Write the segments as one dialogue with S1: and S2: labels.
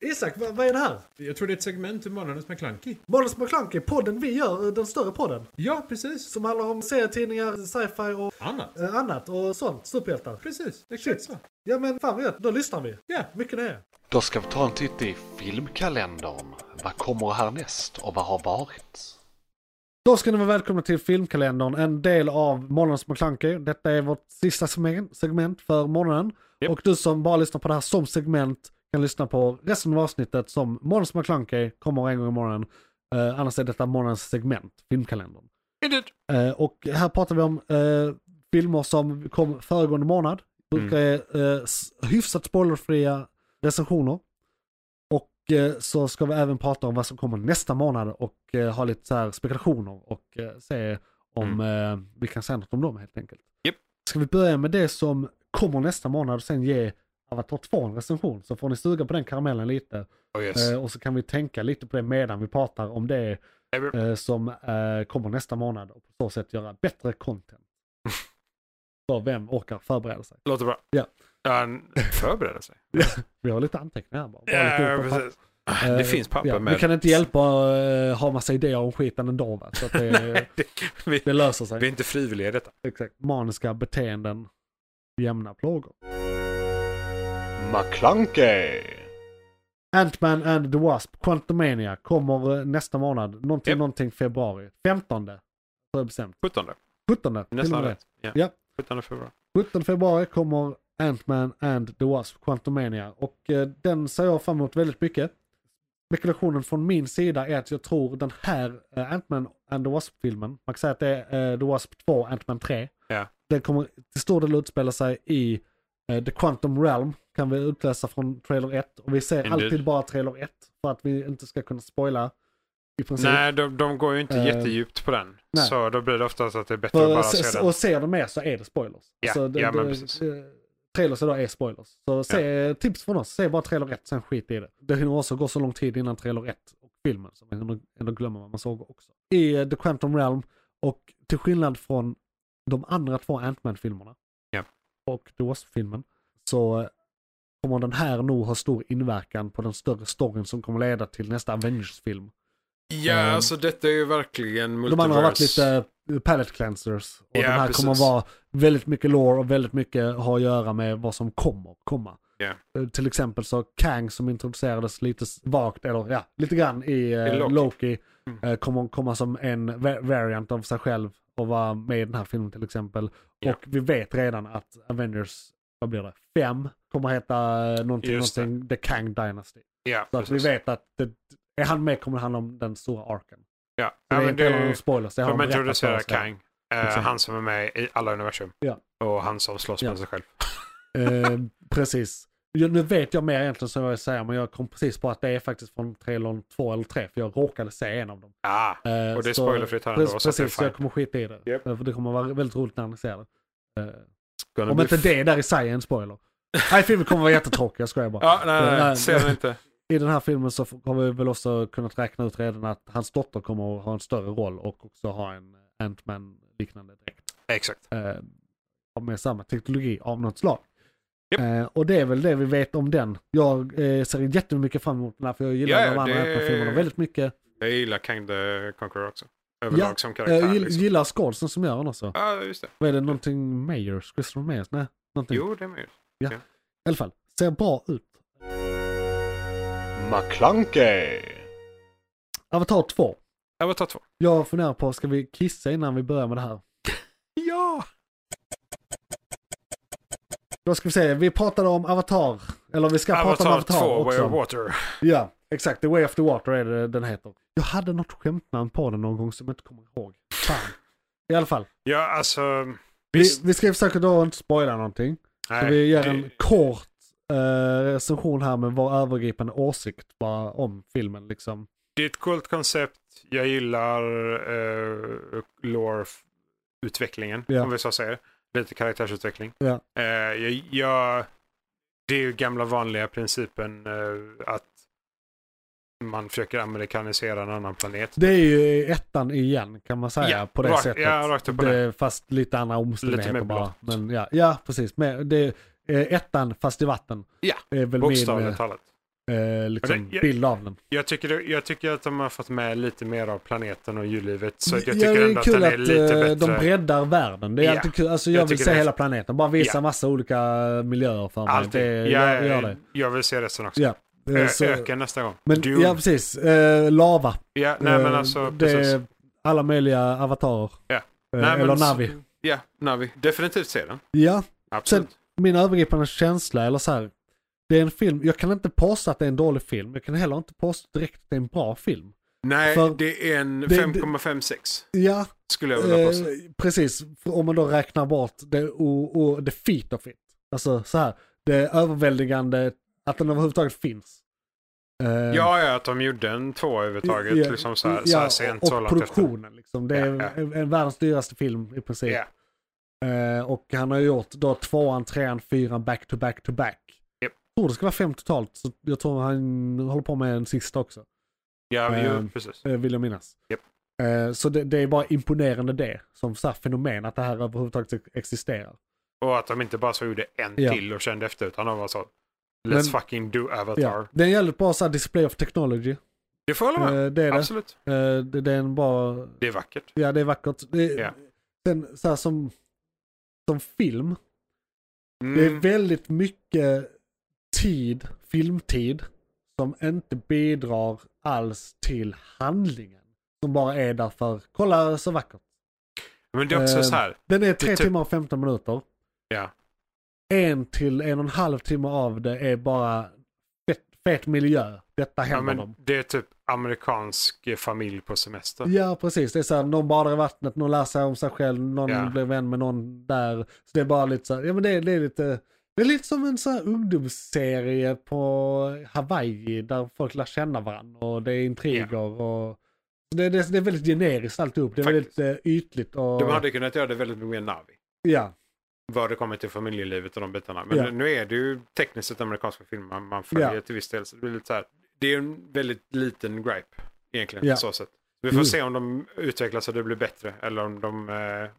S1: Isak, vad, vad är det här?
S2: Jag tror det är ett segment ur Månadens McKlunky.
S1: Månadens McKlunky, podden vi gör, eh, den större podden.
S2: Ja, precis.
S1: Som handlar om serietidningar, sci-fi och
S2: Annat.
S1: eh, annat och sånt. Superhjältar.
S2: Precis, exakt
S1: Shit.
S2: så.
S1: Ja men fan vad gött, då lyssnar vi.
S2: Ja,
S1: Mycket nöje.
S3: Då ska vi ta en titt i filmkalendern. Vad kommer härnäst och vad har varit?
S1: Då ska ni vara välkomna till Filmkalendern, en del av Månadens McKlunky. Detta är vårt sista seg- segment för morgonen.
S2: Japp.
S1: Och du som bara lyssnar på det här som segment kan lyssna på resten av avsnittet som Månadens McKlunky kommer en gång i morgonen. Eh, annars är detta morgonens segment, Filmkalendern. Eh, och här pratar vi om eh, filmer som kom föregående månad.
S3: Mm.
S1: Brukar är eh, s- hyfsat spoilerfria recensioner. Och eh, så ska vi även prata om vad som kommer nästa månad och eh, ha lite så här spekulationer och eh, se om eh, vi kan säga något om dem helt enkelt.
S3: Mm. Japp.
S1: Ska vi börja med det som kommer nästa månad och sen ge Avatar 2 en recension så får ni suga på den karamellen lite.
S3: Oh yes.
S1: Eh, och så kan vi tänka lite på det medan vi pratar om det
S3: Japp.
S1: eh, som eh, kommer nästa månad och på så sätt göra bättre content. För vem orkar förbereda sig?
S4: Låter bra.
S1: Ja.
S4: Ja, han förbereder sig.
S1: Vi har lite anteckningar här bara. Bara lite
S4: Ja,
S1: ord på papper.
S4: precis. Det
S1: Eh,
S4: finns papper
S1: ja,
S4: med.
S1: Vi kan inte hjälpa att eh, ha massa idéer om skiten ändå va? Så att det,
S4: Nej, det, vi,
S1: det löser sig.
S4: vi är inte frivilliga i detta.
S1: Exakt. Maniska beteenden, jämna plågor.
S3: McClunkey!
S1: Ant-Man and the Wasp, Quantumania, kommer eh, nästa månad. Någonting,
S4: Japp.
S1: någonting februari. 15. Så är det bestämt.
S4: 17.
S1: 17. till och
S4: Nästan
S1: med.
S4: rätt. Ja.
S1: Ja.
S4: 17 februari.
S1: 17 februari kommer Ant-Man and the Wasp Quantumania och eh, den ser jag fram emot väldigt mycket. Spekulationen från min sida är att jag tror den här eh, Ant-Man and the Wasp-filmen, man kan säga att det är eh, The Wasp 2, Ant-Man 3.
S4: Ja.
S1: Den kommer till stor del utspela sig i eh, The Quantum Realm, kan vi utläsa från trailer 1. Och vi ser
S4: Indeed.
S1: alltid bara trailer 1 för att vi inte ska kunna spoila i princip.
S4: Nej, de, de går ju inte
S1: Eh,
S4: jättedjupt på den.
S1: nej.
S4: Så då blir det oftast att det är bättre att
S1: För,
S4: bara
S1: se-
S4: se
S1: se-
S4: den.
S1: och ser du med så är det spoilers.
S4: Ja,
S1: det,
S4: ja, men
S1: det-
S4: precis.
S1: eh, Trailers idag är spoilers. Så se, tips från oss, se bara trailer 1 sen skit i det. Det hinner också gå så lång tid innan trailer 1 och filmen så man hinner ändå glömma vad man såg också. I eh, The Quantum Realm och till skillnad från de andra två Ant-Man-filmerna
S4: Ja.
S1: och The Wasp-filmen så eh, kommer den här nog ha stor inverkan på den större storyn som kommer leda till nästa Avengers-film.
S4: Ja,
S1: Eh,
S4: alltså detta är ju verkligen multiverse.
S1: De andra har varit lite eh, palette cleansers. Och
S4: Ja,
S1: den här
S4: precis.
S1: kommer vara väldigt mycket lore och väldigt mycket ha att göra med vad som kommer komma.
S4: Ja.
S1: Eh, Till exempel så Kang som introducerades lite s- vagt, eller ja, lite grann i eh,
S4: I
S1: Loki,
S4: Loki. Mm.
S1: eh, kommer komma som en va- variant av sig själv och vara med i den här filmen till exempel.
S4: Ja.
S1: Och vi vet redan att Avengers, vad blir det, 5 kommer heta eh, någonting,
S4: Just det.
S1: någonting The Kang Dynasty.
S4: Ja,
S1: Så att vi
S4: precis.
S1: vet att det, är han med kommer det handla om den stora arken.
S4: Ja,
S1: Så
S4: ja
S1: det är
S4: men
S1: inte heller någon
S4: det,
S1: spoilers, det har de
S4: de
S1: berättat för
S4: introducerar
S1: oss redan.
S4: Kang. eh,
S1: Exakt.
S4: han som är med i alla universum.
S1: Ja.
S4: Och han som slåss
S1: Ja.
S4: med sig själv.
S1: Eh, precis. Jo, nu vet jag mer egentligen som jag vill säga, men jag kom precis på att det är faktiskt från trailern 2 eller 3, för jag råkade se en av dem.
S4: Ah,
S1: Eh,
S4: Och det
S1: så-
S4: är spoilerfritt här
S1: Precis,
S4: ändå, så att det är
S1: precis så jag
S4: fine.
S1: kommer skita i det.
S4: Japp.
S1: Eh, För det kommer vara väldigt roligt när ni ser det. Eh,
S4: Ah.
S1: om inte det där i sig är en spoiler. Nej, filmen kommer vara jättetråkig, jag skojar bara.
S4: Ja, nej,
S1: Eh,
S4: nej, nej. Ser den inte.
S1: I den här filmen så f- har vi väl också kunnat räkna ut redan att hans dotter kommer att ha en större roll och också ha en Ant-Man-liknande dräkt.
S4: Exakt.
S1: eh, med samma teknologi av något slag.
S4: Japp.
S1: Eh, och det är väl det vi vet om den. Jag eh, ser jättemycket fram emot den här för jag gillar
S4: Ja, ja,
S1: de andra
S4: det-
S1: Ant-Man-filmerna väldigt mycket.
S4: Jag gillar Kang the Conqueror också. Överlag
S1: Ja, eh,
S4: som
S1: Jag
S4: karaktär.
S1: gill-
S4: liksom.
S1: gillar skådisen som gör den också.
S4: Ja, just det.
S1: Vad är det, någonting Mayers? Christopher Mayers? Nej, någonting.
S4: Jo, det är med.
S1: I alla fall, ser bra ut.
S3: McClunkey!
S1: Avatar 2.
S4: Avatar 2.
S1: Jag funderar på, ska vi kissa innan vi börjar med det här?
S4: Ja!
S1: Då ska vi se, vi pratade om Avatar. Eller vi ska prata om
S4: Avatar
S1: Avatar
S4: 2, Way
S1: också.
S4: of Water.
S1: Ja, exakt. The Way of the Water är det den heter. Jag hade något skämtnamn på den någon gång som jag inte kommer ihåg. Fan. I alla fall.
S4: Ja, alltså...
S1: Vi,
S4: Visst.
S1: vi ska försöka då inte spoila någonting. Så
S4: Nej,
S1: vi gör
S4: det-
S1: en kort eh, recension här med vår övergripande åsikt bara om filmen liksom.
S4: Det är ett coolt koncept. Jag gillar uh, lore-utvecklingen,
S1: Ja.
S4: om vi så säger. Lite karaktärsutveckling.
S1: Ja.
S4: Eh, jag, jag, det är ju gamla vanliga principen eh, att man försöker amerikanisera en annan planet.
S1: Det är ju ettan igen kan man säga
S4: Ja,
S1: på det
S4: rakt-
S1: sättet.
S4: ja, rakt upp och
S1: det, fast lite andra omständigheter
S4: Lite mer
S1: bara.
S4: blått.
S1: Men ja, ja precis. Men det är eh, ettan fast i vatten.
S4: Ja,
S1: Är väl min, eh,
S4: Bokstavligt talat.
S1: eh, liksom,
S4: Men det- jag-
S1: bild av den.
S4: Jag tycker, det- jag tycker att de har fått med lite mer av planeten och djurlivet. Så jag
S1: Ja,
S4: tycker ändå att den är lite
S1: eh,
S4: bättre.
S1: de breddar världen. Det är
S4: Ja.
S1: alltid kul. Alltså, jag,
S4: Jag
S1: vill
S4: tycker
S1: se
S4: det är-
S1: hela planeten. Bara visa
S4: Ja.
S1: massa olika miljöer för mig.
S4: Allting.
S1: Det,
S4: Ja,
S1: gör,
S4: jag,
S1: gör det.
S4: jag vill se resten också.
S1: Ja. Eh,
S4: Ö-
S1: så-
S4: Öken nästa gång.
S1: men,
S4: Dune.
S1: ja, precis. Eh, lava.
S4: Ja, nej men
S1: Eh,
S4: alltså
S1: det
S4: precis.
S1: är alla möjliga avatarer.
S4: Ja.
S1: Eh,
S4: nej,
S1: eller
S4: men,
S1: Navi.
S4: Ja, Navi. Definitivt se den.
S1: Ja,
S4: Absolut.
S1: min övergripande känsla eller så här. Det är en film, jag kan inte påstå att det är en dålig film. Jag kan heller inte påstå direkt att det är en bra film.
S4: nej,
S1: för-
S4: det är en
S1: det- det-
S4: 5,56
S1: Ja,
S4: skulle jag vilja påstå.
S1: eh, precis. För Om man då räknar bort det och, och the feet of it. Alltså så här, det är överväldigande att den överhuvudtaget finns. Eh,
S4: Ja, ja, att de gjorde en två överhuvudtaget.
S1: ja,
S4: liksom så här, så
S1: ja,
S4: här sent,
S1: och
S4: så långt efter.
S1: produktionen liksom. Det är
S4: Ja, ja.
S1: En, en världens dyraste film i princip.
S4: Ja,
S1: Eh, och han har gjort då tvåan, trean, fyran, back to back to back.
S4: Japp.
S1: Jag tror det ska vara fem totalt, så jag tror han håller på med en sista också.
S4: ja vi
S1: Ehm,
S4: gör precis.
S1: eh, Vill jag minnas.
S4: Japp.
S1: Eh, Så det, det är bara imponerande det, som så här fenomen, att det här överhuvudtaget existerar.
S4: Och att de inte bara så gjorde en
S1: Ja.
S4: till och kände efter utan de var så. Let's fucking do Avatar.
S1: Ja. Det är en jävligt bra så här, display of technology.
S4: Det får jag hålla med.
S1: Eh, Det är det.
S4: Absolut.
S1: Eh, Det, det är en bra,
S4: Det är vackert.
S1: ja det är vackert. Det,
S4: Ja.
S1: Sen så här som, som film,
S4: Mm.
S1: Det är väldigt mycket tid, filmtid, som inte bidrar alls till handlingen. Som bara är där för, kolla så vackert.
S4: Men det är också
S1: Eh,
S4: så här.
S1: Den är tre
S4: typ-
S1: timmar och 15 minuter.
S4: Ja.
S1: En till en och en halv timme av det är bara fet, fet miljö. Detta
S4: Ja,
S1: händer dem.
S4: men det är typ amerikansk eh, familj på semester.
S1: Ja precis, det är såhär, någon badar i vattnet, någon lär sig om sig själv, någon
S4: Ja.
S1: blir vän med någon där. Så det är bara lite såhär, ja men det, är- det är lite, det är lite som en sån här ungdomsserie på Hawaii där folk lär känna varandra och det är intriger och det, det, det är väldigt generiskt alltihop. Det är
S4: Faktiskt.
S1: väldigt eh, ytligt och...
S4: De hade kunnat göra det väldigt mycket mer Navi.
S1: Ja,
S4: Vad det kommer till familjelivet och de bitarna. Men
S1: Ja.
S4: nu är det ju tekniskt sett amerikanska filmer man- man följer
S1: Ja.
S4: till viss del. Så det, blir lite så här, det är ju en väldigt liten gripe egentligen.
S1: Ja. Mm.
S4: Så sätt. Vi får
S1: Jo.
S4: se om de utvecklas och det blir bättre. Eller om de, eh, ja,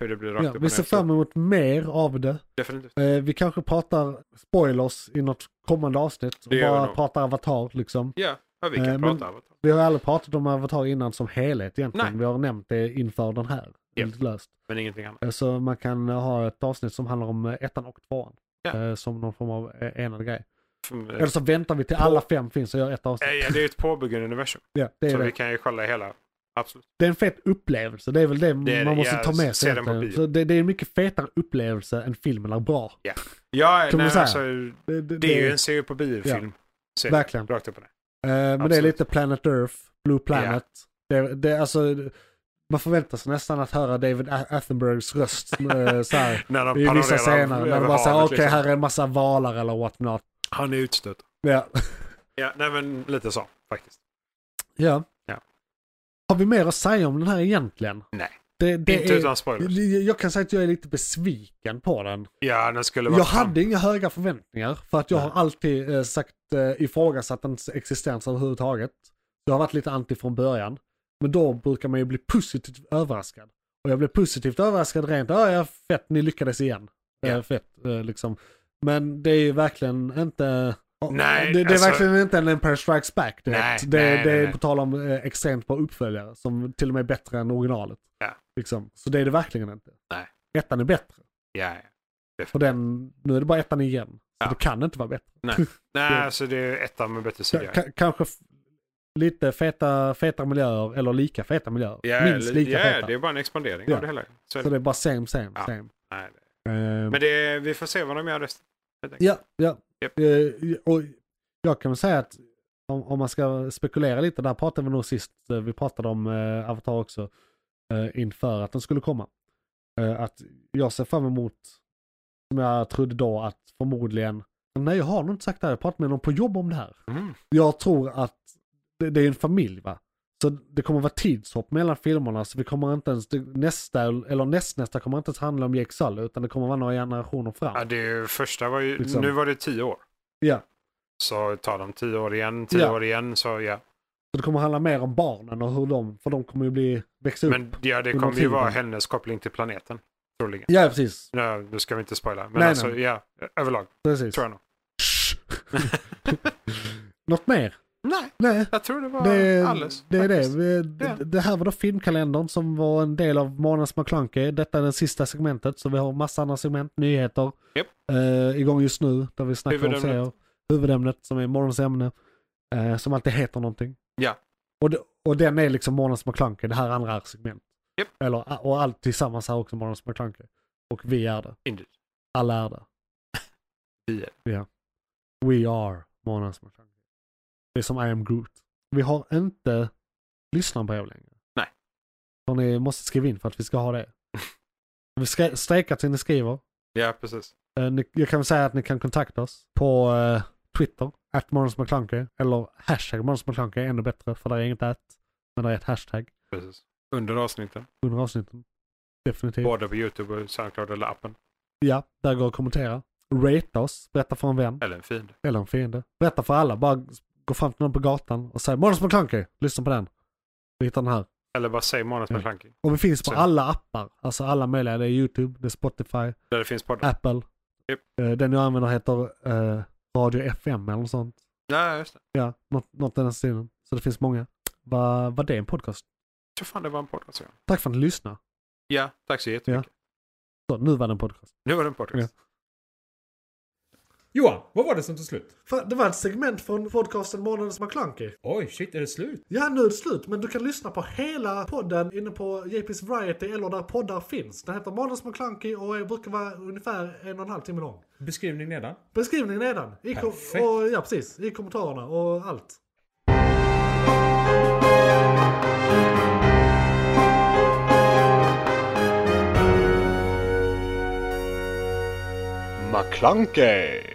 S4: hur det blir rakt
S1: ja,
S4: upp och
S1: vi ser
S4: ner. Så
S1: fram emot mer av det.
S4: Definitivt.
S1: Eh, vi kanske pratar spoilers i något kommande avsnitt. Och
S4: Det gör vi
S1: bara
S4: nog.
S1: pratar avatar liksom.
S4: Ja, ja, vi
S1: Eh,
S4: kan
S1: men-
S4: prata om det.
S1: Vi har aldrig pratat om Avatar innan som helhet egentligen.
S4: Nej.
S1: Vi har nämnt det inför den här.
S4: Ja.
S1: Lite löst.
S4: Men ingenting annat.
S1: Eh, Så man kan eh, ha ett avsnitt som handlar om eh, ettan och tvåan.
S4: Ja.
S1: Eh, Som någon form av eh, enad grej.
S4: För-
S1: Eller så väntar vi till alla fem finns och gör ett avsnitt.
S4: eh, ja, det är ju ett påbyggande universum.
S1: Ja, det, är
S4: Så vi
S1: det.
S4: kan ju kolla hela. Absolut.
S1: det är en fet upplevelse. Det är väl det,
S4: det,
S1: man måste
S4: ja,
S1: ta med
S4: se
S1: sig.
S4: den på
S1: egentligen.
S4: bio.
S1: Så det, det är en mycket fetare upplevelse än filmen är bra.
S4: Ja,
S1: Kan man
S4: nej,
S1: säga?
S4: alltså,
S1: Det, det,
S4: det är ju en se på biofilm. Ja.
S1: Verkligen.
S4: Rakt upp och ner.
S1: Eh, men det är
S4: Absolut.
S1: lite Planet Earth, Blue Planet. Det, det, alltså, man förväntar sig nästan att höra David A- Attenbergs röst. eh, så här,
S4: När de
S1: I vissa
S4: panorerar
S1: scener. När
S4: över
S1: de bara säger okej
S4: havet, liksom.
S1: här är en massa valar eller what not.
S4: Han är utstött.
S1: Ja.
S4: Ja, nej men lite så faktiskt.
S1: ja.
S4: Ja.
S1: Har vi mer att säga om den här egentligen?
S4: Nej.
S1: Det, det
S4: Inte
S1: är,
S4: utan spoilers.
S1: Jag- Jag kan säga att jag är lite besviken på den.
S4: Ja, den skulle vara
S1: Jag hade inga höga förväntningar för att jag
S4: Nej.
S1: har alltid eh, sagt eh, ifrågasatt dens existens överhuvudtaget. Jag har varit lite anti från början. Men då brukar man ju bli positivt överraskad. Och jag blev positivt överraskad rent, ja ja fett ni lyckades igen. Eh,
S4: Ja.
S1: Fett eh, liksom. Men det är ju verkligen inte...
S4: Nej,
S1: det, det är
S4: alltså-
S1: verkligen inte en Empire Strikes Back direkt.
S4: Nej,
S1: det,
S4: nej,
S1: det
S4: nej,
S1: är
S4: nej.
S1: på tal om eh, extremt bra uppföljare som till och med är bättre än originalet.
S4: Ja.
S1: Liksom. Så det är det verkligen inte.
S4: Nej.
S1: Ettan är bättre.
S4: Ja, ja.
S1: För den, nu är det bara ettan igen. Så
S4: Ja.
S1: det kan inte vara bättre.
S4: Nej,
S1: Det-
S4: alltså det är ettan med bättre
S1: Ka-
S4: CGI.
S1: ka- kanske f- lite feta, feta miljöer eller lika feta miljöer.
S4: Ja,
S1: Minst
S4: li-
S1: lika
S4: ja,
S1: feta.
S4: det är bara en expandering
S1: Ja.
S4: av det hela. Så, är
S1: Så
S4: det...
S1: det är bara same, same,
S4: Ja.
S1: same.
S4: Nej, det...
S1: Eh,
S4: Men det, är- vi får se vad de gör resten. helt enkelt.
S1: ja, ja.
S4: Japp.
S1: Eh, och jag kan väl säga att om, om man ska spekulera lite, där pratade vi nog sist, eh, vi pratade om eh, Avatar också, eh, inför att den skulle komma. Eh, att jag ser fram emot, som jag trodde då, att förmodligen, nej jag har nog inte sagt det här, jag pratade med någon på jobb om det här.
S4: Mm.
S1: jag tror att det, det är en familj va. Så det kommer vara tidshopp mellan filmerna så vi kommer inte ens, det, nästa eller nästnästa kommer inte ens handla om Jake Sully utan det kommer vara några generationer fram.
S4: Ja, det är ju, första var ju,
S1: Liksom.
S4: nu var det tio år.
S1: Ja.
S4: Så tar de tio år igen, tio
S1: Ja. Typ.
S4: år igen, så ja.
S1: Så det kommer handla mer om barnen och hur de, för de kommer ju bli, växa upp.
S4: Men ja, det
S1: Under
S4: kommer ju vara
S1: tiden.
S4: hennes koppling till planeten. Troligen.
S1: Ja precis,
S4: Nu, nu ska vi inte spoila. Men
S1: Nej,
S4: alltså,
S1: nej.
S4: ja, överlag
S1: precis.
S4: tror jag nog.
S1: Shh. Något mer?
S4: Nej,
S1: Nej.
S4: jag tror det var
S1: Det,
S4: alles.
S1: det är det.
S4: faktiskt.
S1: Vi- d-
S4: Ja.
S1: Det här var då filmkalendern som var en del av Månadens McKlunky. Detta är det sista segmentet så vi har massa andra segment, nyheter.
S4: Japp.
S1: Eh, igång just nu där vi snackar om
S4: Huvudämnet.
S1: serier. Huvudämnet som är morgons ämne. eh, som alltid heter någonting.
S4: Ja.
S1: Och, d- och den är liksom Månadens McKlunky. Det här andra är segment.
S4: Japp.
S1: Eller, och allt tillsammans här också Månadens McKlunky. Och vi är det.
S4: Indeed.
S1: Alla är det.
S4: Vi är.
S1: Ja. We are Månadens McKlunky. Det är som I am Groot. Vi har inte lyssnarbrev längre.
S4: Nej.
S1: Så ni måste skriva in för att vi ska ha det. Vi ska strejka till ni skriver.
S4: Ja, precis.
S1: Eh, ni, jag kan väl säga att ni kan kontakta oss på eh, Twitter, at eller hashtag MonusMcClunky är ännu bättre för det är inget att, men det är ett hashtag
S4: precis. Under avsnitten.
S1: under avsnitten. Definitivt.
S4: Både på YouTube och Soundcloud eller appen.
S1: Ja, där går att kommentera. Rate oss, berätta för en vän
S4: Eller en fiende.
S1: eller en fiende. Berätta för alla, bara gå fram till någon på gatan och säg Monus McClunky, lyssna på den. Du hittar den här.
S4: Eller bara säg Månads
S1: Ja.
S4: McKlunky.
S1: Och vi finns på
S4: Så.
S1: alla appar, alltså alla möjliga. Det är YouTube, det är Spotify,
S4: Där det finns poddar.
S1: Apple.
S4: Japp.
S1: Eh, Den jag använder heter eh, Radio FM eller något sånt.
S4: Ja, just det.
S1: Ja, något, något i den stilen. Så det finns många. Var va det en podcast?
S4: Jag tror fan det var en podd alltså.
S1: Tack för att ni lyssnade.
S4: Ja, tack så jättemycket.
S1: Så, nu var det en podcast.
S4: Nu var det en podcast.
S2: Johan, vad var det som tog slut?
S1: Det var ett segment från podcasten Månadens McKlunky.
S2: Oj, shit, är det slut?
S1: Ja, nu är det slut, men du kan lyssna på hela podden inne på JP's Variety eller där poddar finns. Den heter Månadens McKlunky och brukar vara ungefär en och en halv timme lång.
S2: Beskrivning nedan.
S1: Beskrivning nedan. I kom-
S2: Perfekt.
S1: och, ja, precis. I kommentarerna och allt.
S3: McClunkey!